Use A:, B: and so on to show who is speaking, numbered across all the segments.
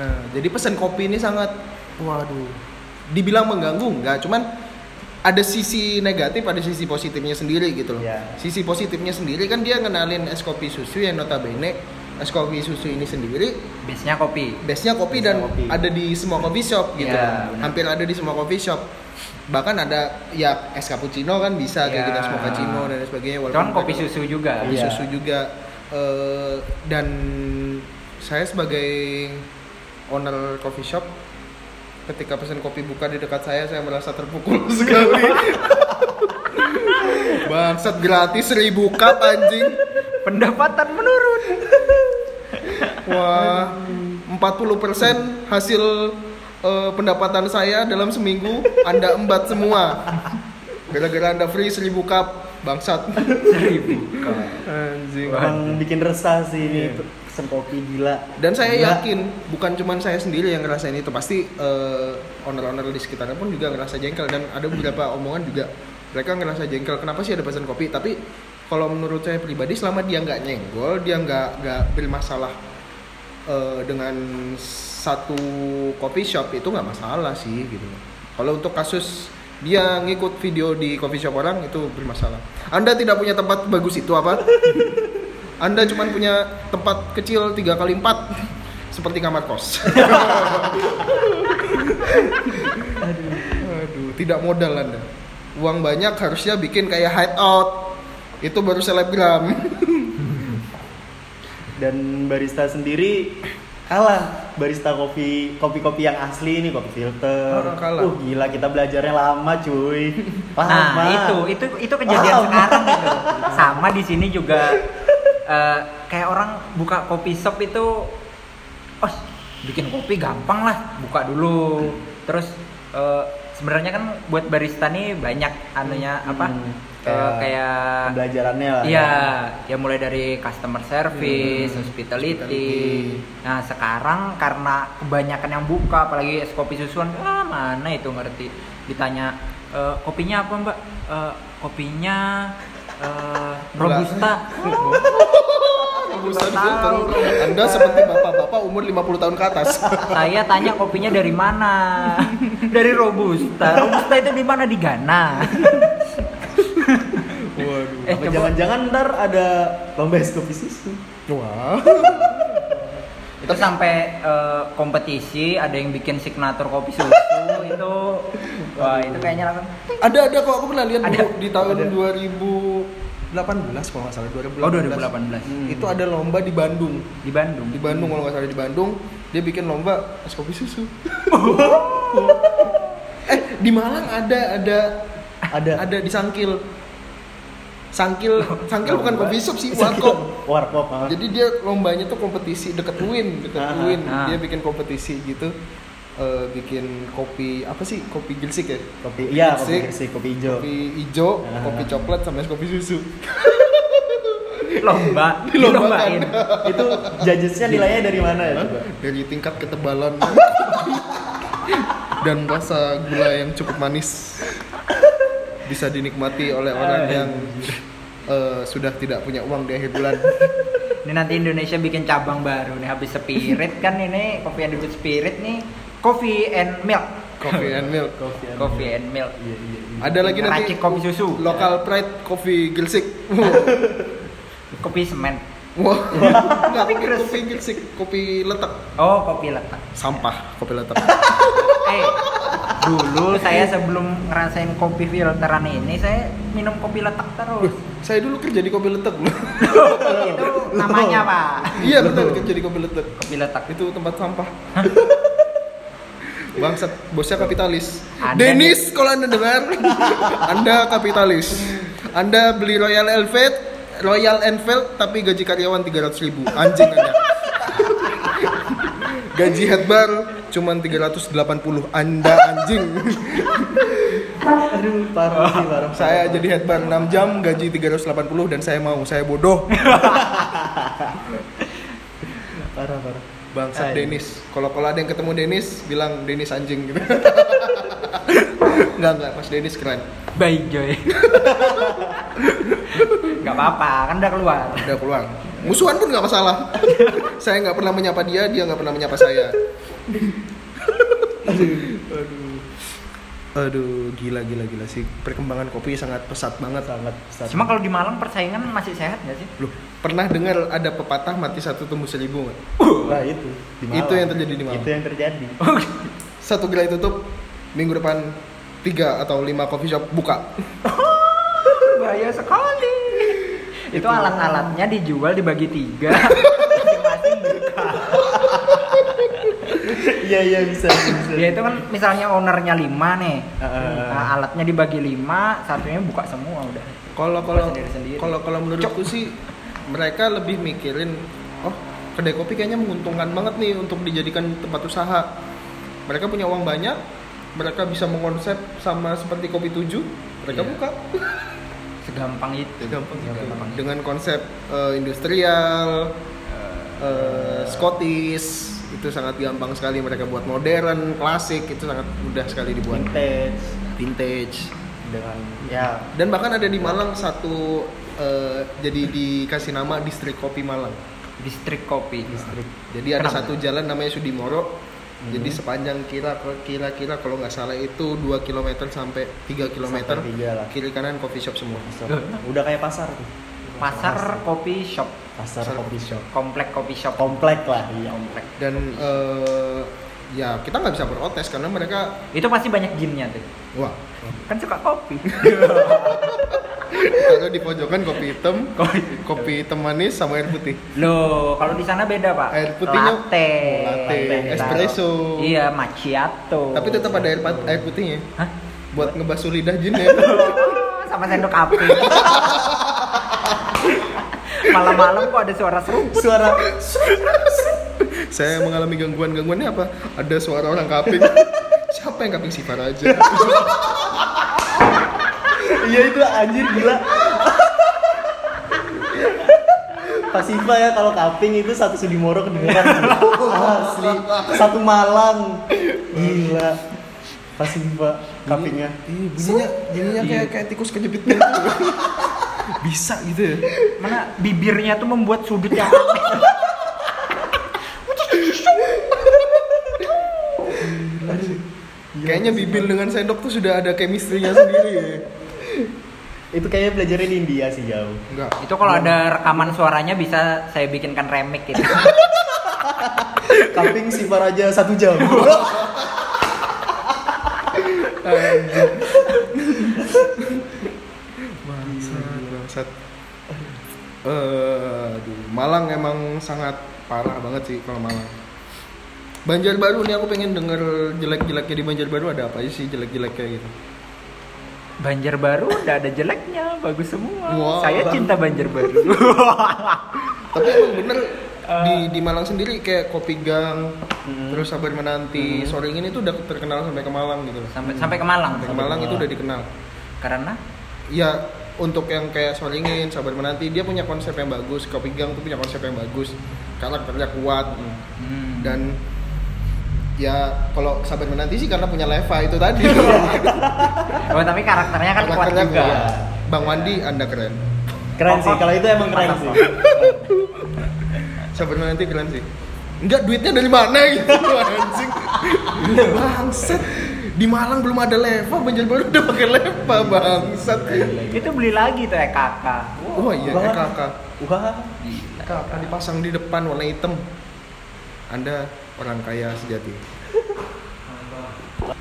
A: Nah, jadi pesan kopi ini sangat waduh. Dibilang mengganggu enggak, cuman ada sisi negatif, ada sisi positifnya sendiri gitu loh.
B: Iya.
A: Sisi positifnya sendiri kan dia ngenalin es kopi susu yang notabene es kopi susu ini sendiri
C: biasanya kopi
A: base-nya kopi
B: Base-nya
A: dan
B: kopi.
A: ada di semua coffee shop gitu.
C: Iya, benar.
A: Hampir ada di semua coffee shop. Bahkan ada ya es cappuccino kan bisa kayak
C: Iya.
A: kita es mochaccino dan lain sebagainya walaupun
C: cuman kopi
A: mereka-
C: susu juga
A: kopi
B: Iya.
A: susu juga Eh, dan saya sebagai owner coffee shop ketika pesan kopi buka di dekat saya saya merasa terpukul sekali bangsat gratis seribu cup anjing
C: pendapatan menurun
A: wah 40% hasil eh, pendapatan saya dalam seminggu anda embat semua gara-gara anda free seribu cup bangsat
C: seribu
A: anjing
B: Emang bikin resah sih ini pesen kopi gila.
A: Dan saya
B: Gila.
A: yakin bukan cuman saya sendiri yang ngerasain itu, pasti eh, owner-owner di sekitarnya pun juga ngerasa jengkel dan ada beberapa omongan juga mereka ngerasa jengkel. Kenapa sih ada pesan kopi? Tapi kalau menurut saya pribadi, selama dia nggak nyenggol, dia nggak nggak bermasalah eh, dengan satu coffee shop itu nggak masalah sih gitu. Kalau untuk kasus dia ngikut video di coffee shop orang itu bermasalah. Anda tidak punya tempat bagus itu apa? Anda cuma punya tempat kecil 3 kali 4 seperti kamar kos. Aduh, tidak modal Anda. Uang banyak harusnya bikin kayak hideout. Itu baru selebgram.
B: Dan barista sendiri kalah barista kopi kopi kopi yang asli ini kopi filter.
A: Oh, kalah.
B: Uh gila kita belajarnya lama cuy. Lama.
C: nah itu itu itu kejadian
B: Lama.
C: sekarang gitu sama di sini juga eh, kayak orang buka kopi shop itu oh bikin kopi gampang lah buka dulu terus eh, sebenarnya kan buat barista nih banyak anunya apa
B: Hmm,
C: eh,
B: kayak
C: kayak
B: Pembelajarannya lah.
C: Iya, ya mulai dari customer service,
A: Hmm,
C: hospitality.
A: hospitality.
C: Nah sekarang karena kebanyakan yang buka, apalagi es kopi susuan, ah mana itu ngerti? Ditanya "E, kopinya apa mbak? "E, kopinya e, robusta.
A: Urusan
C: tahu.
A: filter. Anda seperti bapak-bapak umur 50 tahun ke atas.
C: Saya tanya kopinya dari mana? dari robusta. Robusta itu di mana di Ghana?
A: Waduh.
C: Eh
B: Apa
C: coba
B: jangan-jangan ntar ada lomba es kopi susu.
A: Wah.
C: itu sampai eh, kompetisi ada yang bikin signatur kopi susu itu wah itu kayaknya langsung
A: Ada ada kok aku pernah lihat
C: Ada.
A: dulu di tahun
B: Ada.
A: 2018 kalau nggak salah 2018.
C: Oh, 2018.
A: Hmm. Itu ada lomba di Bandung.
C: di Bandung
A: di Bandung kalau nggak salah di Bandung dia bikin lomba es kopi susu eh di Malang ada ada
B: Ada.
A: ada di Sangkil Sangkil Sangkil Kan bukan
C: Lomba.
A: kopi shop sih warkop
B: Iya, Warkop. ah.
A: jadi dia lombanya tuh kompetisi deket Win deket
B: Ah,
A: Win
C: ah.
A: dia bikin kompetisi gitu Eh, bikin kopi apa sih kopi gilsik ya
B: Kopi. Iya kopi
A: Gersik.
B: gersik, kopi hijau.
A: kopi hijau
B: Ah.
A: kopi coklat sama es kopi susu
C: lomba
A: Dilombakan.
C: dilombain
B: itu judgesnya nilainya dari mana ya coba?
A: dari tingkat ketebalan dan rasa gula yang cukup manis bisa dinikmati oleh orang yang eh, sudah tidak punya uang di akhir bulan.
C: ini nanti Indonesia bikin cabang baru nih habis spirit kan ini kopi yang disebut spirit nih coffee and milk
A: Coffee and milk.
B: Kopi. ada.
C: coffee and milk
B: Iya iya. iya.
A: Ada lagi nanti
C: Racik kopi susu
A: Local pride coffee gilsik.
C: kopi semen
A: Wah. Nggak,
C: Kopi gresik.
A: kopi gilsik, kopi letak,
C: oh kopi letak
A: sampah, kopi letak.
C: eh dulu saya sebelum ngerasain kopi filteran ini saya minum kopi letak terus
A: Saya dulu kerja di kopi letak. loh.
C: itu namanya pak
A: Iya betul kerja di kopi letak.
C: kopi letak
A: Itu tempat sampah. Bangsat, bosnya kapitalis.
C: Anda
A: Dennis, kalau Anda dengar, Anda kapitalis. Anda beli Royal Enfield, Royal Enfield tapi gaji karyawan 300 ribu. Anjing Anda. Gaji headbar cuman 380 Anda anjing.
B: Aduh parah sih parah.
A: Saya jadi headbar 6 jam gaji 380 dan saya mau, saya bodoh.
B: parah parah.
A: Bangsat
C: Aduh.
A: Dennis. Kalau kalau ada yang ketemu Dennis, bilang Dennis anjing gitu. Enggak enggak, Mas Dennis keren.
C: Baik Joy. Gak apa-apa, kan udah keluar.
A: Udah pulang. Musuhan pun nggak masalah. saya nggak pernah menyapa dia, dia nggak pernah menyapa saya. Aduh. Aduh, gila gila gila sih. Perkembangan kopi sangat pesat banget
B: sangat besar.
C: Cuma kalau di Malang persaingan masih sehat nggak sih?
A: Loh, pernah dengar ada pepatah mati satu tumbuh seribu nggak?
B: Nah, itu di Malang.
A: Itu yang terjadi di Malang.
B: Itu yang terjadi.
A: Satu gila tutup, minggu depan tiga atau lima coffee shop buka.
C: Bahaya sekali. Itu alat-alatnya dijual dibagi tiga. Masing-masing buka.
B: Iya iya bisa bisa.
C: Ya itu kan misalnya ownernya lima nih.
B: Heeh.
C: Nah, alatnya dibagi lima, satunya buka semua udah.
A: Kalau kalau
C: sendiri-sendiri.
A: kalau kalau menurutku sih mereka lebih mikirin oh kedai kopi kayaknya menguntungkan banget nih untuk dijadikan tempat usaha. Mereka punya uang banyak, mereka bisa mengonsep sama seperti kopi tujuh, mereka
C: Iya.
A: buka
C: Segampang itu.
A: Gampang gitu.
C: Segampang itu.
A: dengan konsep eh, industrial, eh, Scottish itu sangat gampang sekali mereka buat modern, klasik itu sangat mudah sekali dibuat
B: Vintage
A: vintage.
B: dengan ya
A: Dan bahkan ada di Malang satu eh, jadi dikasih nama distrik kopi Malang.
C: Distrik kopi.
B: listrik.
A: Jadi ada
C: Kenapa?
A: satu jalan namanya Sudimoro. Jadi sepanjang kira kira-kira kalau nggak salah itu 2 km sampai 3 km.
B: Sampai tiga lah.
A: Kiri kanan coffee shop semua.
B: So, udah kayak pasar tuh.
C: Pasar kopi shop,
B: Pasar
A: Pasar
B: kopi shop.
C: komplek kopi shop.
B: Komplek lah
A: ya,
B: iya.
C: Komplek.
A: Dan eh, ya kita nggak bisa protes karena mereka
C: Itu pasti banyak gymnya tuh.
A: wah
C: Kan suka kopi.
A: kalau di pojokan kopi hitam, kopi hitam manis sama air putih.
C: Loh, kalau di sana beda, Pak.
A: Air putihnya- Oh,
C: latte,
A: Latte, espresso.
C: Iya, macchiato.
A: Tapi tetap ada air, pat- air putihnya
C: Hah?
A: buat ngebasuh lidah jin ya.
C: Oh, Sama sendok api. Malam-malam kok ada suara seruput.
B: Suara
A: Saya mengalami gangguan-gangguannya apa? Ada suara orang kaping. Siapa yang kaping si aja?
B: iya itu anjir gila. Pasifa ya kalau kaping itu satu Sudimoro kedengeran asli satu Malang gila Pasifa kapingnya
A: Iya, bunyinya bunyinya kayak kayak tikus kejepit gitu. Bisa gitu ya.
C: Mana bibirnya tuh membuat sudut yang aneh.
A: Kayaknya bibil dengan sendok tuh sudah ada chemistry-nya sendiri ya.
B: itu kayaknya belajarin India sih jauh
A: Enggak.
C: Itu kalau ada rekaman suaranya bisa saya bikinkan remix gitu.
B: kaping Sifa Raja satu jam
A: Bangsat, bangsat. Eh, aduh, Malang emang sangat parah banget sih kalau Malang. Banjarbaru nih aku pengen denger jelek-jeleknya di Banjarbaru ada apa aja sih jelek-jeleknya gitu.
C: Banjarbaru udah ada jeleknya, bagus semua.
A: Wow.
C: Saya cinta Banjarbaru.
A: Tapi emang bener di di Malang sendiri kayak kopi gang, terus sabar menanti, sore ini tuh udah terkenal sampai ke Malang gitu. loh.
C: sampai sampai ke Malang.
A: Sampai ke Malang itu udah dikenal.
C: Karena
A: ya untuk yang kayak soal ingin sabar menanti dia punya konsep yang bagus kopi gang tuh punya konsep yang bagus karakternya kuat
C: hmm,
A: dan ya kalau sabar menanti sih karena punya leva itu tadi
C: Oh, tapi karakternya kan kuat
A: karakternya
C: juga.
A: kuat. Bang Wandi anda keren
B: iya. keren sih kalau itu emang keren sih
A: sabar menanti keren sih enggak duitnya dari mana gitu anjing bangsat di Malang belum ada leva Banjarbaru udah pakai leva bangsat
C: Itu beli lagi tuh eh, EKK.
A: oh iya
B: Wah.
A: kakak
B: wah
A: Kakak dipasang di depan warna hitam. Anda orang kaya sejati.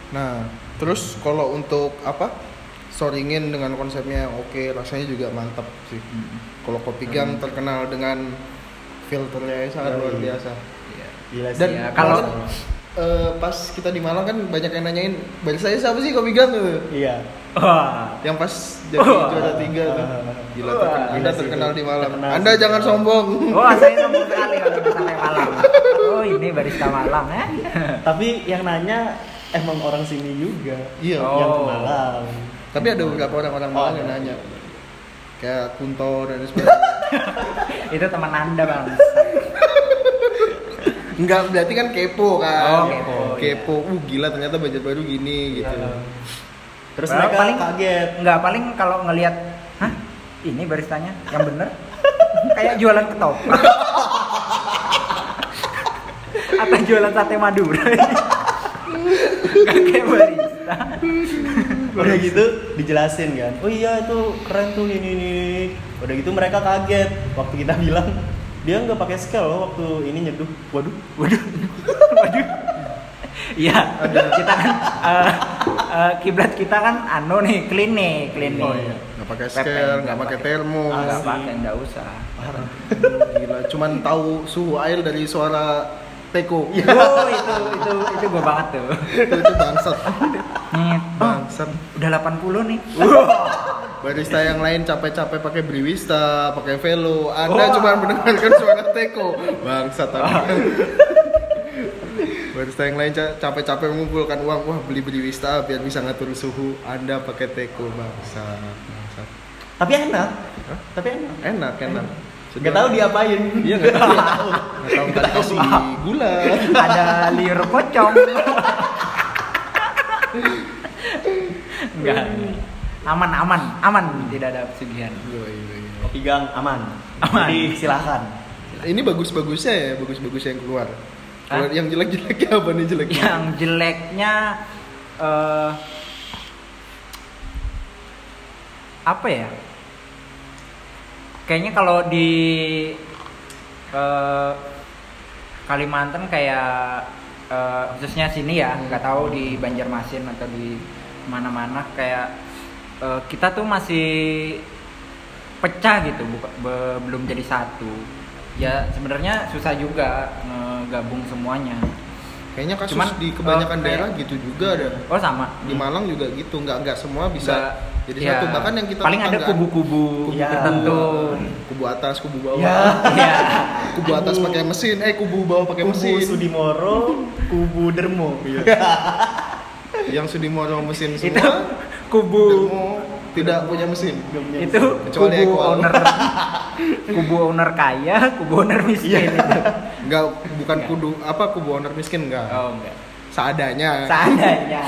A: Nah, terus kalau untuk apa? Soringin dengan konsepnya oke, rasanya juga mantap sih. Kalau kopi gang terkenal dengan filternya yang sangat luar
B: Hmm. Yoi.
A: biasa.
B: gila sih
A: Dan
C: Iya, kalau-
A: Eh, pas kita di Malang kan banyak yang nanyain, "Balik saya siapa sih kopi gang?" tuh?"
B: iya
C: Wah.
A: Yang pas jadi
C: Wah.
A: juara tiga tuh. Gila,
C: Wah.
A: terkenal. Anda
B: Gila Iya sih
A: terkenal
B: itu.
A: di Malang.
B: Terkenal
A: Anda
B: sih.
A: jangan sombong.
C: Wah, Oh, saya sombong sekali kalau udah sampai Malang. Oh, ini barista Malang ya.
B: tapi yang nanya emang orang sini juga
A: Iya.
C: Oh.
B: yang ke Malang
A: Tapi ada beberapa orang-orang Malang
B: Oh,
A: yang
B: ada.
A: nanya. Kayak Kunto dan sebagainya.
C: Itu teman Anda, Bang.
A: Enggak, berarti kan kepo
C: Oh,
A: kan.
C: kepo. Iya.
A: kepo. Uh, gila ternyata budget baru gini gitu.
B: Terus
C: Padahal
B: mereka
C: paling-
B: kaget.
C: Enggak, paling kalau ngelihat, hah? Ini baristanya yang bener. Kayak jualan ketoprak. Atau jualan sate Madura. Enggak kayak barista.
B: Udah gitu dijelasin kan. Oh iya itu keren tuh ini ini. ini." Udah gitu mereka kaget waktu kita bilang dia nggak pakai scale loh waktu ini nyeduh. Waduh,
C: Waduh. Waduh. Iya, kita kan eh, eh, kiblat kita kan anu nih, clean nih, clean nih.
B: Oh, iya.
A: Enggak pakai
C: Pepe,
A: scale, enggak
C: nggak
A: pakai
C: pakai.
A: termo.
C: Enggak
B: Asli.
C: pakai, enggak usah.
B: parah.
A: Gila, cuman tahu suhu air dari suara teko. Iya,
C: Oh, itu itu itu gua banget tuh.
A: itu, itu bangsat.
C: Nyet. Oh,
A: Bangsat.
C: udah 80 nih.
A: Barista yang lain capek-capek pakai Briwista, pakai Velo. Anda
C: Wah.
A: cuma mendengarkan suara teko. Bangsat Anda. Barista yang lain ca- capek-capek mengumpulkan uang, wah beli Briwista biar bisa ngatur suhu. Anda pakai teko, bangsat. bangsat.
B: Tapi enak.
A: Hah?
B: Tapi enak.
A: Enak, enak.
B: Gak tahu diapain.
A: Iya nggak tahu. Nggak tahu nggak dikasih gula.
C: ada liur pocong enggak aman aman aman tidak ada pesugihan
A: Iya, iya, iya.
B: Kopi gang aman.
C: Aman.
B: Jadi silakan.
A: Ini bagus-bagusnya ya, bagus-bagusnya yang keluar. Kalau
C: Hah?
A: yang jelek-jeleknya apa nih jeleknya?
C: yang jeleknya eh apa ya kayaknya kalau di eh, Kalimantan kayak eh, khususnya sini ya nggak tahu di Banjarmasin atau di mana-mana kayak eh, kita tuh masih pecah gitu buka- be- belum jadi satu ya sebenarnya susah juga ngegabung semuanya
A: Kayaknya kasus
C: Cuman,
A: di kebanyakan
C: eh,
A: daerah gitu juga ada.
C: oh sama
A: Di Malang juga gitu, nggak nggak semua bisa
C: Nggak,
A: jadi
C: ya,
A: satu. Bahkan yang kita
C: paling ada
A: tetanggaan,
C: kubu-kubu
B: Kubu-kubu.
C: tertentu
A: kubu atas, kubu bawah.
C: ya
A: Kubu atas
B: Kubu-
A: pakai mesin, eh kubu bawah pakai
B: Kubu
A: mesin.
B: Sudimoro, Kubu Dermo. Iya.
A: Yang Sudimoro mesin semua.
C: itu kubu
A: Dermo tidak punya mesin.
B: Gak punya
C: itu
B: mesin.
A: Kecuali
C: kubu
A: Eko.
C: owner kubu owner kaya kubu owner
A: Iya.
C: miskin itu
A: Nggak, bukan
C: Nggak.
A: kudu apa kubu owner miskin nggak.
C: oh enggak
A: Seadanya.
C: seandainya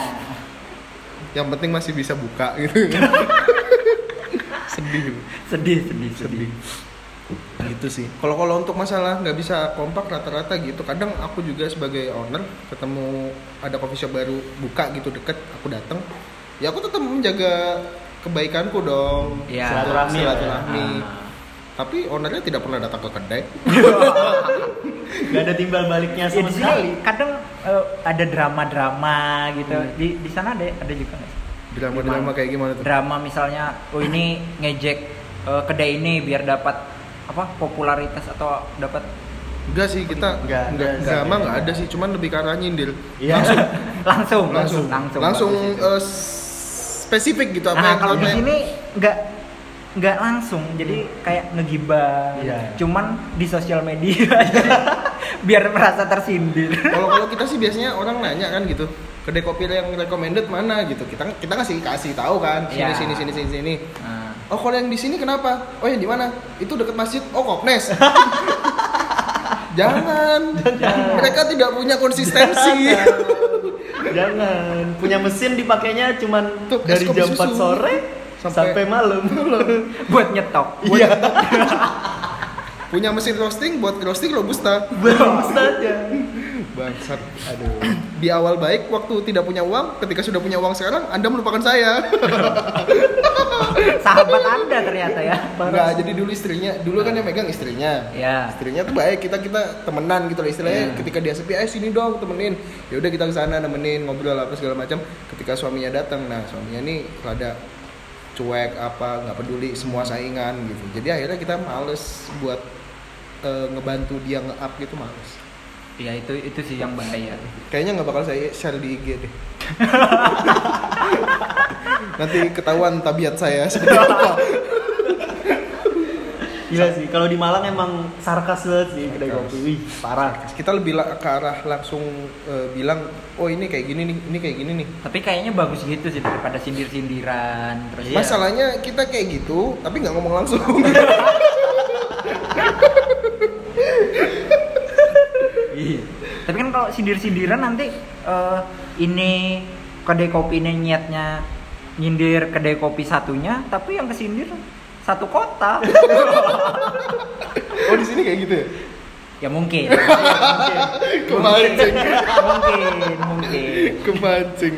A: yang penting masih bisa buka gitu. Sedih.
C: sedih sedih sedih
A: sedih gitu sih kalau kalau untuk masalah nggak bisa kompak rata-rata gitu kadang aku juga sebagai owner ketemu ada coffee shop baru buka gitu deket aku datang ya aku tetap menjaga kebaikanku dong gitu,
C: Iya.
B: Silaturahmi ya.
A: Silaturahmi.
C: Ah.
A: tapi ownernya tidak pernah datang ke kedai
B: Gak ada timbal baliknya
C: Ya,
B: sama
C: di
B: sekali.
C: sini kadang eh, ada drama-drama gitu.
A: Hmm.
C: Di di sana ada ada juga nggak sih?
A: drama-drama
C: Gimana?
A: kayak gimana tuh
C: Drama misalnya, oh ini ngejek eh, kedai ini biar dapat apa popularitas atau dapat
A: enggak sih kita
B: Nggak,
A: enggak
B: nggak,
A: drama
B: nggak.
A: nggak ada sih cuman lebih ke arah nyindir
B: Iya.
C: langsung
A: langsung langsung,
C: bagus itu.
A: eh, spesifik gitu apa
C: nah
A: yang
C: kalau di
A: apa yang-
C: sini nggak nggak langsung jadi kayak ngegibah
B: Iya.
C: cuman di sosial media biar merasa tersindir
A: kalau kalau kita sih biasanya orang nanya kan gitu kedai kopi yang recommended mana gitu kita kita kasih kasih tahu kan sini
C: Iya.
A: sini sini sini sini
C: Nah,
A: oh kalau yang di sini kenapa oh yang di mana itu dekat masjid oh kopnes jangan. mereka tidak punya konsistensi
B: Jangan. Punya mesin dipakainya cuman
A: Tuh, es
B: dari
A: kopi
B: jam
A: susu.
B: 4 sore
A: Sampai-
B: sampai, malam.
C: buat nyetok
B: Iya.
A: punya mesin roasting buat roasting robusta
B: Belum saja.
A: bangsat aduh di awal baik waktu tidak punya uang ketika sudah punya uang sekarang anda melupakan saya
C: sahabat anda ternyata ya
A: Enggak, jadi dulu istrinya dulu kan yang megang istrinya
C: ya
A: istrinya tuh baik kita kita temenan gitu loh istilahnya
C: Iya.
A: ketika dia sepi eh sini dong temenin ya udah kita ke sana nemenin ngobrol apa segala macam ketika suaminya datang nah suaminya nih rada cuek apa nggak peduli semua saingan gitu jadi akhirnya kita males buat eh, ngebantu dia nge-up gitu males
C: ya itu itu sih yang bahaya
A: kayaknya nggak bakal saya share di IG deh nanti ketahuan tabiat saya seperti apa
B: Gila sih, kalau di Malang emang sarkas banget sih kedai
A: Sarkas.
B: kopi. Wih, parah.
A: kita lebih la- ke arah langsung eh, bilang oh ini kayak gini nih ini kayak gini nih
C: tapi kayaknya bagus gitu sih daripada sindir-sindiran terus
B: Iya.
A: Masalahnya kita kayak gitu, tapi nggak ngomong langsung.
C: Iya. kan kalau sindir-sindiran nanti eh, ini kedai kopi ini niatnya nyindir kedai kopi satunya, tapi yang kesindir satu kota.
A: Oh di sini kayak gitu ya?
C: ya mungkin.
A: Kemancing.
C: mungkin, mungkin.
A: Kemancing.